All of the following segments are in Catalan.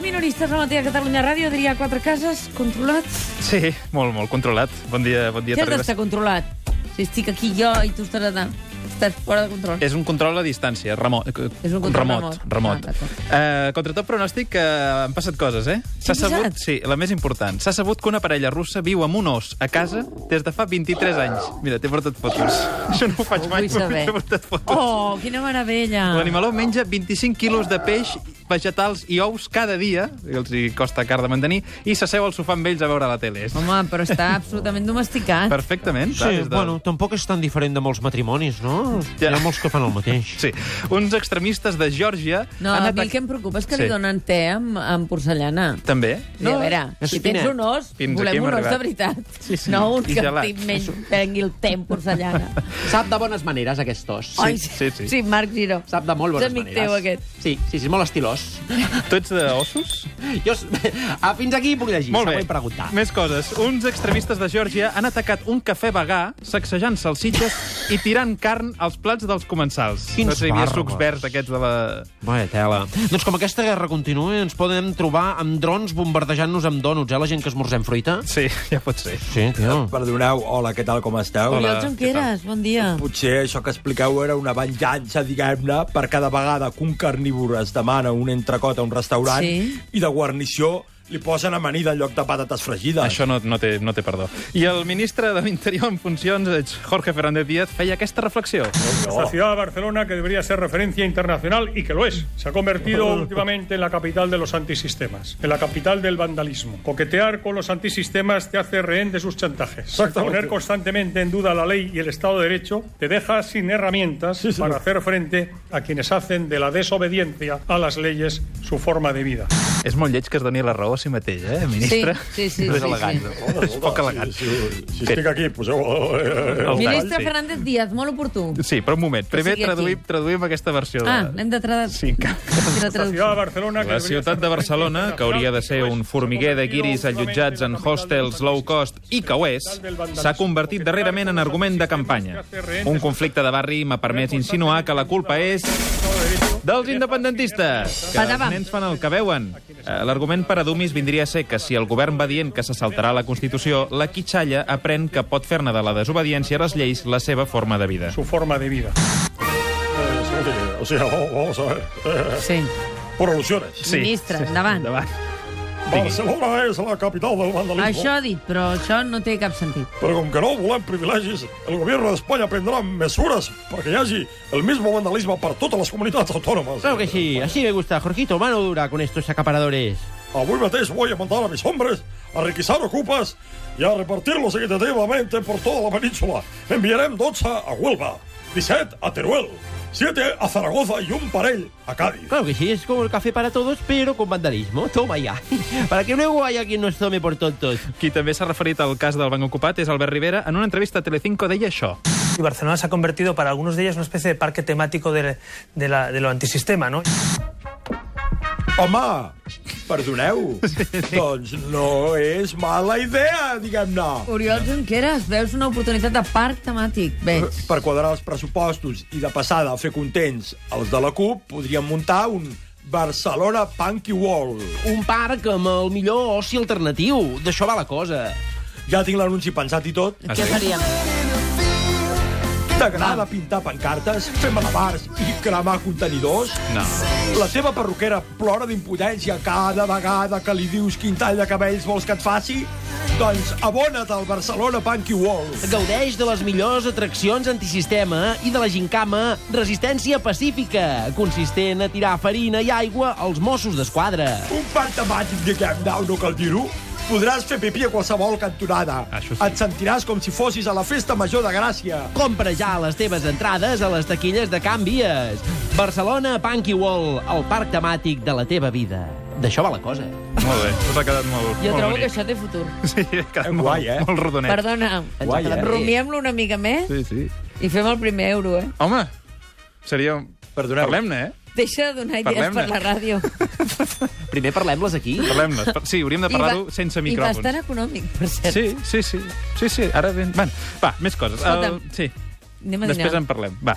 periodistes al matí a Catalunya Ràdio, diria quatre cases, controlats. Sí, molt, molt controlat. Bon dia, bon dia, Què has Terribas. d'estar controlat? Si estic aquí jo i tu estàs, allà, estàs fora de control. És un control a distància, remot. És un control remot. remot. remot. Ah, d'acord. eh, contra tot pronòstic, eh, han passat coses, eh? Sí, S'ha ha passat. sabut, sí, la més important. S'ha sabut que una parella russa viu amb un os a casa des de fa 23 anys. Mira, t'he portat fotos. Això no ho faig Ho mai, vull saber. t'he portat fotos. Oh, quina meravella. L'animaló menja 25 quilos de peix, vegetals i ous cada dia, els hi costa car de mantenir, i s'asseu al sofà amb ells a veure la tele. Home, però està absolutament domesticat. Perfectament. clar, Sí, des de- bueno, tampoc és tan diferent de molts matrimonis, no? Ja. Ja. Hi ha molts que fan el mateix. Sí. Uns extremistes de Geòrgia No, a han mi el atacat... que em preocupa és que Sí. li donen té amb, amb porcellana. També. No, a veure, és si tens finet. un os, Fins aquí volem hem un os de arribat. veritat. Sí, sí. No un I que gelat. tinc menys prengui el té amb porcellana. Sap de bones maneres, aquest os. Ai, sí, sí. sí, Marc Giró. Sap de molt bones Oh. És amic maneres. teu, aquest. Sí, sí, sí, és molt estilós. Tu ets d'ossos? Jo... Ah, fins aquí puc llegir. Molt bé. Següent preguntar. Més coses. Uns extremistes de Geòrgia han atacat un cafè vegà sacsejant salsitxes i tirant carn als plats dels comensals. Quins no sé, hi havia bàrbars. sucs verds aquests de la... Vaja tela. Doncs com aquesta guerra continua, ens podem trobar amb drons bombardejant-nos amb dònuts, eh, la gent que esmorzem fruita. Sí, ja pot ser. Sí, tio. Perdoneu, hola, què tal, com esteu? Oriol què Junqueras, bon dia. Potser això que expliqueu era una venjança, diguem-ne, per cada vegada que un carnívor es demana un entrecot a un restaurant Sí. i de guarnició li posen amanida en lloc de patates fregides. Això no, no, té, no té perdó. I el ministre de l'Interior en funcions, Jorge Fernández Díaz, feia aquesta reflexió. Esta ciudad de Barcelona, que debería ser referencia internacional y que lo es, se ha convertido últimamente en la capital de los antisistemas, en la capital del vandalismo. Coquetear con los antisistemas te hace rehén de sus chantajes. Poner constantemente en duda la ley y el Estado de Derecho te deja sin herramientas para hacer frente a quienes hacen de la desobediencia a las leyes su forma de vida. És molt lleig que es doni la raó a si mateix, eh, ministre? Sí, sí, sí, No sí, és elegant. sí. És poc elegant. Si, si estic aquí, eh, poseu... El Ministre tall, sí. Fernández Díaz, molt oportú. Sí, però un moment. Primer sigui aquí. traduïm, traduïm aquesta versió. Ah, de... l'hem de tra... Sí, encara. fer la La ciutat de traducció. Barcelona... La ciutat de Barcelona, que hauria de ser un formiguer de guiris allotjats en hostels low cost i que ho és, s'ha convertit darrerament en argument de campanya. Un conflicte de barri m'ha permès insinuar que la culpa és dels independentistes, que els Patava. nens fan el que veuen. Eh, L'argument per a Dumis vindria a ser que si el govern va dient que se saltarà la Constitució, la quitxalla aprèn que pot fer-ne de la desobediència a les lleis la seva forma de vida. Su forma de vida. eh, O sea, vamos a ver. Eh, Sí. por alusiones. Sí, Ministre, sí, endavant. endavant. Barcelona és la capital del vandalismo. Això ha dit, però això no té cap sentit. Però com que no volem privilegis, el govern d'Espanya prendrà mesures perquè hi hagi el mismo vandalisme per totes les comunitats autònomes. Claro que sí, así me gusta, Jorgito, mano dura con estos acaparadores. Avui mateix voy a mandar a mis hombres a requisar ocupas y a repartirlos equitativamente por toda la península. Enviarem 12 a Huelva, 17 a Teruel, 7 a Zaragoza y un parell a Cádiz. Claro que sí, es como el café para todos, pero con vandalismo. Toma ya. Para que luego haya quien nos tome por tontos. Qui també s'ha referit al cas del banc ocupat és Albert Rivera. En una entrevista a Telecinco deia això. Y Barcelona se ha convertido para algunos de ellos en una especie de parque temático de, de la- de lo antisistema, ¿no? Home, perdoneu, doncs no és mala idea, diguem-ne. Oriol Junqueras, veus una oportunitat de parc temàtic, veig. Per quadrar els pressupostos i de passada fer contents els de la CUP, podríem muntar un Barcelona Punky Wall. Un parc amb el millor oci alternatiu. D'això va la cosa. Ja tinc l'anunci pensat i tot. Què faríem? T'agrada pintar pancartes, fer malabars i cremar contenidors? No. La teva perruquera plora d'impotència cada vegada que li dius quin tall de cabells vols que et faci? Doncs abona't al Barcelona Punky Wall. Gaudeix de les millors atraccions antisistema i de la gincama Resistència Pacífica, consistent a tirar farina i aigua als Mossos d'Esquadra. Un parc temàtic, diguem-ne, no cal dir-ho. Podràs fer pipí a qualsevol cantonada. Això sí. Et sentiràs com si fossis a la Festa Major de Gràcia. Compra ja les teves entrades a les taquilles de Can Vies. Barcelona Punky Wall, el parc temàtic de la teva vida. D'això va la cosa. Molt bé, us ha quedat molt, Jo molt trobo bonic. que això té futur. Sí, ha quedat Eh, molt, guai, eh? molt rodonet. Perdona, Guai, eh? rumiem-lo una mica més Sí, sí. i fem el primer euro, eh? Home, seria... Perdoneu. Parlem-ne, eh? Deixa de donar idees Parlem-ne. per la ràdio. Primer parlem-les aquí. Parlem-ne. Per- Sí, hauríem de I ba- parlar-ho sense I micròfons. bastant econòmic, per cert. Sí, sí, sí. Sí, sí, ara ben... Van, va, més coses. Escolta'm. Sí, Anem a dinar. Després en parlem. Va.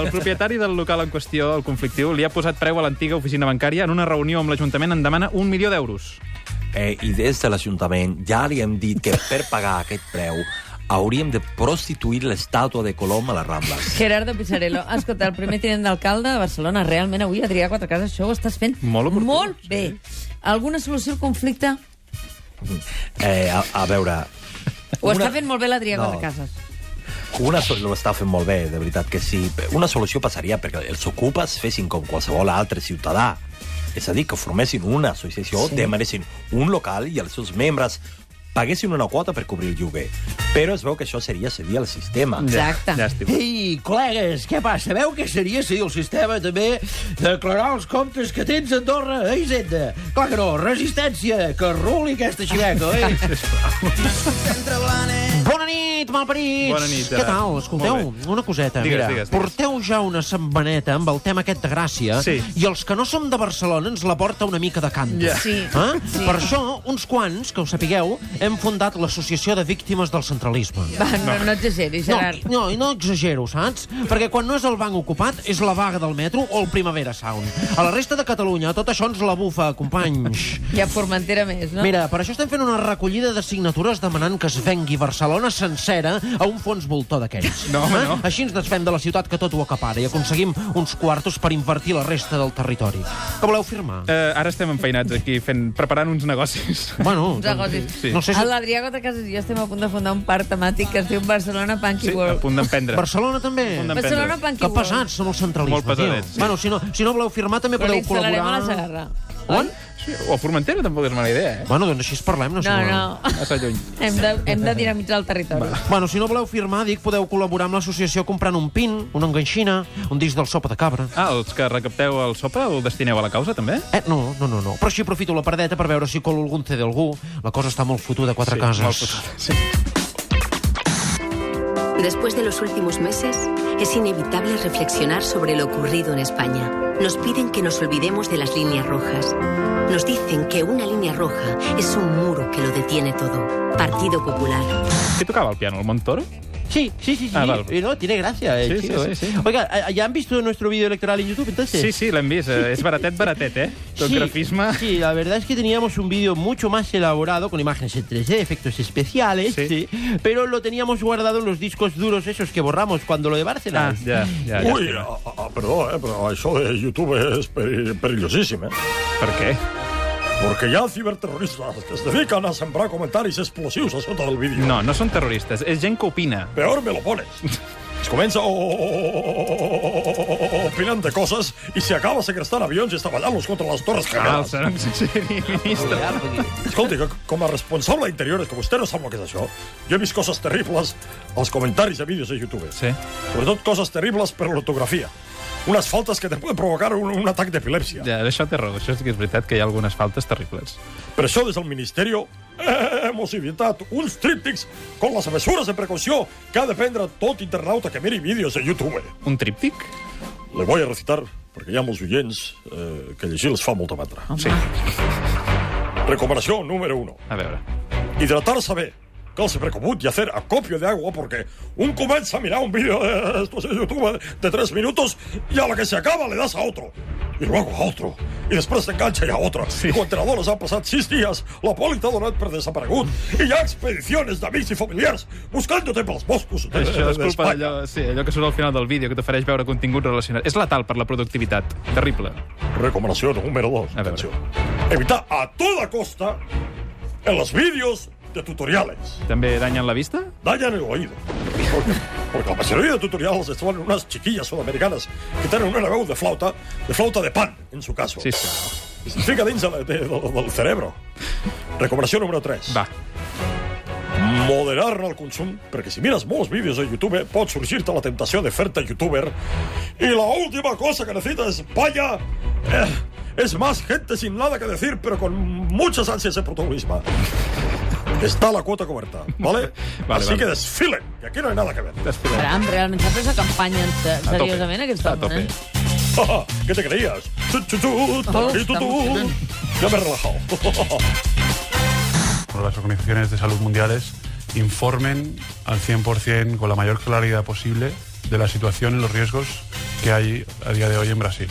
El propietari del local en qüestió, el conflictiu, li ha posat preu a l'antiga oficina bancària. En una reunió amb l'Ajuntament en demana un milió d'euros. Eh, I des de l'Ajuntament ja li hem dit que per pagar aquest preu hauríem de prostituir l'estàtua de Colom a les Rambles. Gerardo Pissarello, escolta, el primer tinent d'alcalde de Barcelona, realment avui, Adrià Quatrecases, això ho estàs fent Molt oportú, molt bé. Alguna solució al conflicte? Eh, a, a veure, Ho Una- està fent molt bé l'Adrià No. Quatrecases. Una solució ho està fent molt bé, de veritat que sí. Una solució passaria perquè els ocupes fessin com qualsevol altre ciutadà. És a dir, que formessin una associació, sí. demanessin un local i els seus membres paguessin una quota per cobrir el lloguer. Però es veu que això seria cedir al sistema. Exacte. Llàstima. Ei, col·legues, què passa? Veu que seria seguir el sistema també declarar els comptes que tens a Andorra a Hisenda? Clar que no, resistència, que ruli aquesta xiveca, oi? Bona nit, malparits! Bona nit, Què Gerard. tal? Escolteu, Molt una coseta. Digues, mira, digues, digues. porteu ja una setmaneta amb el tema aquest de Gràcia Sí. i els que no som de Barcelona ens la porta una mica de cant. Ja. Sí. Eh? Sí. Per això, uns quants, que ho sapigueu, hem fundat l'Associació de Víctimes del Centralisme. Va, no, no exageris, Gerard. No, no, i no exagero, saps? Perquè quan no és el banc ocupat, és la vaga del metro o el Primavera Sound. A la resta de Catalunya, tot això ens la bufa, companys. Hi ha Formentera més, no? Mira, per això estem fent una recollida de signatures demanant que es vengui Barcelona sencera a un fons voltor d'aquells. Eh? No, home, no. Així ens desfem de la ciutat que tot ho acapara i aconseguim uns quartos per invertir la resta del territori. Que voleu firmar? Eh. Eh, ara estem enfeinats aquí fent, preparant uns negocis. Bueno, Uns doncs, negocis. Sí. no sé si... L'Adrià Quatrecases i jo estem a punt de fundar un parc temàtic que es diu Barcelona Punky Sí, a World. punt d'emprendre. Barcelona també. Fundem- Barcelona Punky Que World. pesats som el centralisme, Molt pesadets, tio. sí. Bueno, si no, si no voleu firmar, també Però li podeu instal·larem a la col·laborar... Segarra. On? Sí, o a Formentera tampoc és mala idea, eh? Bueno, doncs així es parlem, no sé. No, no. Massa lluny. Hem de, hem de dinamitzar el territori. Bueno, si no voleu firmar, dic, podeu col·laborar amb l'associació comprant un pin, una enganxina, un disc del sopa de cabra. Ah, els que recapteu el sopa el destineu a la causa, també? Eh, no, no, no, no. Però així aprofito la paradeta per veure si colo algun CD algú. La cosa està molt fotuda a quatre sí, cases. molt fotuda, sí. Después de los últimos meses, es inevitable reflexionar sobre lo ocurrido en España. Nos piden que nos olvidemos de las líneas rojas. Nos dicen que una línea roja es un muro que lo detiene todo. Partido Popular. Qui tocava el piano? El Montoro? Sí, sí, sí, sí. Ah, val. Y no, tiene gracia. eh, Sí, chico, sí, eh. sí, sí. Oiga, ¿ah, ¿ya han visto nuestro vídeo electoral en YouTube entonces? Sí, sí, l'hem vist. Eh, És baratet, baratet, eh? Tot Sí, grafisme... Sí, la verdad es que teníamos un vídeo mucho más elaborado, con imágenes en 3D, efectos especiales, Sí. sí, pero lo teníamos guardado en los discos duros esos que borramos cuando lo de Ah, Barcelona. ja, ja, ja. Ui, a, a, perdó, eh, però això de YouTube és peri- perillosíssim, eh? Per què? Porque hi ha ciberterroristes que es dediquen a sembrar comentaris explosius a sota del vídeo. No, no són terroristes, és gent que opina. Peor me lo pones. Es comença oh, opinant de coses i s'hi acaba segrestant avions i estavellant-los contra les torres Ah, el gemeles. segon ministre. Escolti, que com a responsable d'interiores, que vostè no sap el que és això, jo he vist coses terribles als comentaris de vídeos a YouTube. Sí. Sobretot coses terribles per l'ortografia. Unes faltes que te poden provocar un, un atac d'epilèpsia. Ja, això té raó, això sí que és veritat que hi ha algunes faltes terribles. Per això, des del Ministeri, eh, hemos evitat uns tríptics con les mesures de precaució que ha de prendre tot internauta que miri vídeos a YouTube. Un tríptic? Le voy a recitar, perquè hi ha molts oients eh, que llegir els fa molta batre. Sí, Recomanació número 1. a veure. Hidratar-se bé. Calce precomut y hacer acopio de agua porque un comienza a mirar un vídeo de estos de YouTube de tres minutos y a la que se acaba le das a otro. Y luego a otro. Y después te engancha y a otro. I Quan te la dones han passat sis dies, la poli t'ha donat per desaparegut i hi ha expediciones d'amics i familiars buscant-te pels boscos de- Això és culpa d'Espanya. d'allò sí, allò que surt al final del vídeo, que t'ofereix veure contingut relacionat. És letal per la productivitat. Terrible. Recomanación número 2. A ver. Evita a toda costa en los vídeos de tutoriales. També danyen la vista? Dañan el oído. Porque, porque la mayoría de tutoriales estaban unas chiquillas sudamericanas que tienen un aragón de flauta, de flauta de pan, en su caso. Sí, sí. Y se fica dins de la- de- del- del cerebro. Recomanación número 3. Va. Moderar-ne el consum, perquè si mires molts vídeos a YouTube eh, pot sorgir-te la tentació de fer-te youtuber. I la última cosa que necessites, España, eh, es más gente sin nada que decir, pero con muchas ansias de protagonismo. Está la cuota cubierta, ¿vale? Vale, Así vale. que desfilen, que aquí no hay nada que ver. Caram, realment s'ha pres a campanya se- A tope. seriosament aquests A homes, tope. eh? ¿Qué Ah, te creías? Chu, chu, chu, Oh, tu, tu, está tu. emocionante. Ya me he relajado. por las organizaciones de salud mundiales informen al 100% con la mayor claridad posible de la situación y los riesgos que hay a día de hoy en Brasil.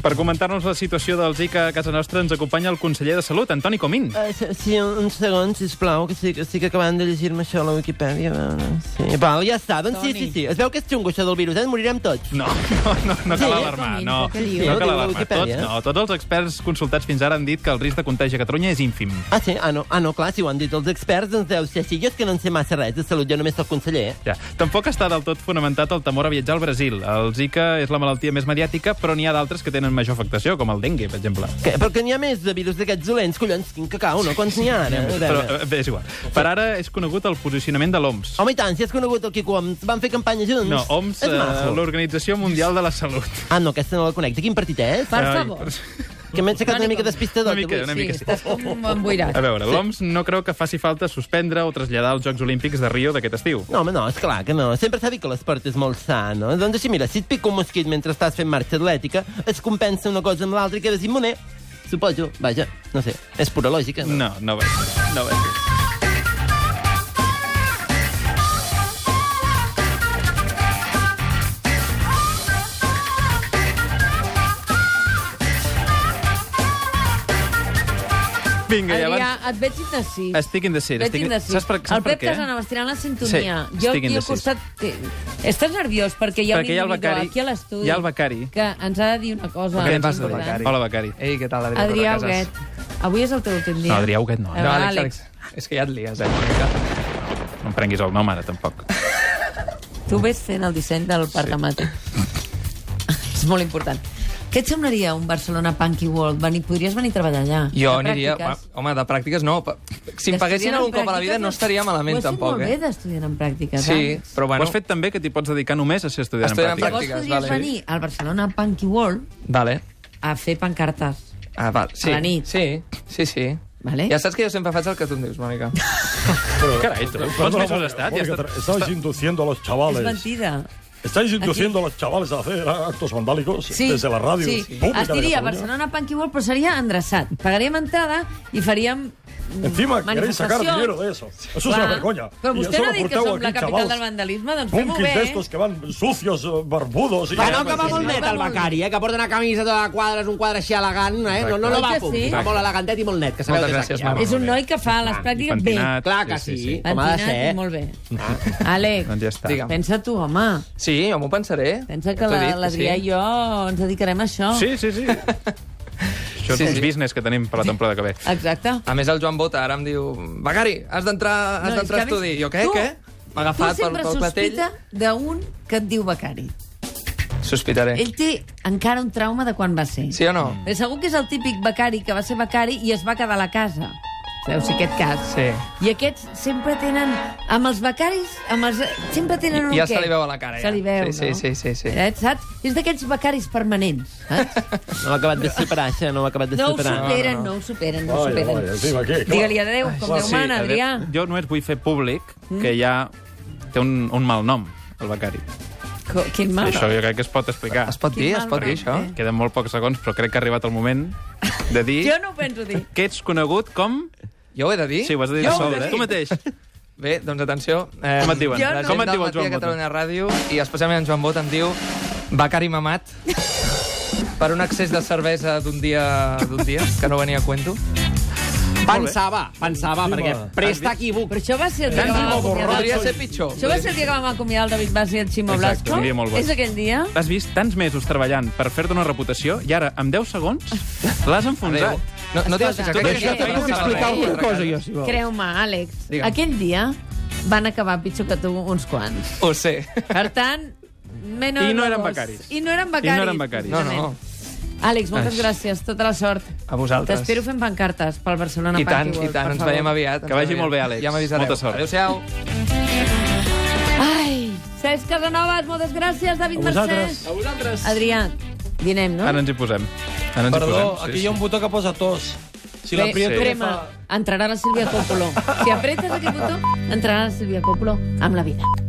Per comentar-nos la situació del Zika a casa nostra ens acompanya el conseller de Salut, Antoni Comín. Eh, sí, un, un segon, sisplau, que estic, estic acabant de llegir-me això a la Wikipedia. A veure, sí. Val, ja està, doncs sí, Toni. sí, sí. Es veu que és xunguixa del virus, eh? Morirem tots. No, no, no, no cal alarmar, no, Què diu? no Diu cal la alarmar. Tots, Wikipedia. no, tots els experts consultats fins ara han dit que el risc de contagi a Catalunya és ínfim. Ah, sí? Ah no, ah, no, clar, si ho han dit els experts, doncs deu ser així. Jo és que no en sé massa res de salut, jo només soc conseller. Ja. Tampoc està del tot fonamentat el temor a viatjar al Brasil. El Zika és la malaltia més mediàtica, però n'hi ha d'altres que tenen major afectació, com el dengue, per exemple. Que, però que n'hi ha més de virus d'aquests dolents, collons, quin cacau, no? Quants n'hi ha ara? A Però veure. eh, bé, és igual. Per ara és conegut el posicionament de l'OMS. Home, i tant, si has conegut el Quico Oms, van fer campanya junts. No, OMS, És eh, maco. l'Organització Mundial de la Salut. Ah, no, aquesta no la conec. De quin partit és? Per Ai, favor. Que m'he aixecat una mica despistador. Una mica, avui. una mica, sí. Estàs com emboirat. A veure, l'OMS no creu que faci falta suspendre o traslladar els Jocs Olímpics de Rio d'aquest estiu. No, home, no, és clar que no. Sempre s'ha dit que l'esport és molt sa, no? Doncs així, mira, si et pica un mosquit mentre estàs fent marxa atlètica, es compensa una cosa amb l'altra i quedes immune. Suposo, vaja, no sé, és pura lògica. No, no, no vaig. No vaig. Vinga, i Adrià, abans... et veig indecis. Estic indecis. Veig Estic... indecis. Saps per, saps el per Pep què? Casanova estirant la sintonia. Sí, jo estic aquí indecis. al costat... Té... Estàs nerviós perquè hi ha Perquè un hi ha individu el becari- aquí a l'estudi... hi ha el becari. Que ens ha de dir una cosa. Què li important. passa, Becari? Hola, Becari. Ei, què tal, Adrià Huguet, avui és el teu últim dia. No, Adrià Huguet no. Eh, va, Àlex, És que ja et lies, eh? No em prenguis el nom ara, tampoc. tu ves fent el disseny del parc temàtic. és molt important. Què et semblaria un Barcelona Punky World? Venir, podries venir a treballar allà. Jo De aniria... pràctiques. Bueno, Home, de pràctiques no. pa- Si em D'estudiant paguessin algun en cop a la vida pràctiques, no estaria malament, Ho has fet tampoc, molt eh? bé d'estudiant en pràctiques. Sí, eh? però bueno... Ho has fet també que t'hi pots dedicar només a ser estudiant, Estudiant en en pràctiques. pràctiques, Podries venir al Barcelona Punky World Vale. a fer pancartes. Ah, val. Sí. A la nit. Sí, sí, sí. Vale. Ja saps que jo sempre faig el que tu em dius, Mònica. Caray, ¿tú? Perdona, ¿Cuántos mesos Mónica, has estat? Ja Mónica, està- estáis induciendo a los És chavales. mentida. Estáis induciendo a los chavales a hacer actos vandálicos desde la radio Sí. pública Es de diria Catalunya. Barcelona Punky World, però seria endreçat. Pagaríem entrada i faríem mm, Encima queréis sacar manifestacions. dinero de eso. Eso es Clar. una vergüenza. Però Y vostè eso no lo ha dit que porteu som la aquí, capital chavals. del vandalisme, doncs fem-ho Punkis bé, de eh? estos que van sucios, eh, barbudos... y- Bueno, que va molt net el Becari, eh? Que porta una camisa de quadres, un quadre així elegant, eh? No, no, no Exacte. va, Oi que pum. sí? Va molt elegantet i molt net, que sabeu Moltes que gràcies, és aquí. Marc. És un noi que fa les pràctiques bé. pentinat, Clar que sí, sí, sí, sí. com ha de Pentinat i ser. molt bé. Ah. Àlex, Doncs ja està. Digue'm. pensa tu, home. Sí, jo m'ho pensaré. Pensa que Ja t'ho he la- dit, l'Adrià sí. i jo ens dedicarem a això. Sí, sí, sí. Això és sí, Sí, sí. un business que tenim per la temporada que ve. Exacte. A més, el Joan Bota ara em diu... Bagari, has d'entrar has No, és d'entrar a que a estudi. més, Jo què, tu- què? M'ha Tu agafat pel, sempre pel clatell. sospita d'un que et diu becari. Sospitaré. Ell té encara un trauma de quan va ser. Sí o no? Però segur que és el típic becari que va ser becari i es va quedar a la casa. Sabeu, si aquest cas. Sí. I aquests sempre tenen... Amb els becaris, amb els, sempre tenen un Ja què. se li veu a la cara, ja. Se li veu, sí, no? Sí, sí, sí. sí. Eh, saps? És d'aquests becaris permanents. eh? No m'ha acabat de superar, això, no m'ha acabat de No ho superar. superen, no, ho superen, no ho Vaja, superen. vaja, encima aquí, clar. Digue-li adeu, com Déu mana, a Adrià. veure, Jo només vull fer públic que ja té un, un mal nom, el becari. Co- Quin I mal. això jo crec que es pot explicar. Es pot Quin dir, Ah. es mal pot nom, dir, això? eh? Queden molt pocs segons, però crec que ha arribat el moment de dir Jo no ho penso dir. que ets conegut com... Jo ho he de dir? Sí, ho has de dir Jo de ho he de soles, dir. tu mateix. Bé, doncs atenció. Eh, Com et diuen? Jo no. La gent Com et del diu el Matí Joan Bota? de Catalunya Ràdio i especialment en Joan Bot em diu Becari Mamat per un excés de cervesa d'un dia, d'un dia que no venia a cuento. Pensava, pensava, perquè presta equívoc. Però això va ser el dia que vam acomiadar... Podria ser pitjor. Això va ser el dia que vam acomiadar el David Bassi i el Ximo Exacte, Blasco. un dia molt bo. És aquell dia? Has vist tants mesos treballant per fer-te una reputació i ara, en 10 segons, l'has enfonsat. Adéu. No, no t'hi has Escolta, fixat. Crec que Deixa- això tinc que t'agrada. explicar una cosa, jo, si Creu-me, Àlex, Digue'm. aquell dia van acabar pitjor que tu uns quants. Ho sé. Per tant, menys... I no eren becaris. I no eren becaris. I no eren becaris. No, no. Àlex, moltes Ai. gràcies, tota la sort. A vosaltres. T'espero fent pancartes pel Barcelona I tant, Party i World, tant. per Ens favor. veiem aviat. Que vagi molt bé, Àlex. Ja m'avisareu. Molta sort. Adéu-siau. Ai, Cesc Casanovas, moltes gràcies, David A vosaltres. Mercès. A vosaltres. Adrià, dinem, no? Ara ens hi posem. Ara ens hi Perdó, posem. aquí hi ha un botó que posa tos. Si Bé, l'aprieto... sí. crema, entrarà la Sílvia Coppolo. Si apretes aquest botó, entrarà la Sílvia Coppolo amb la vida.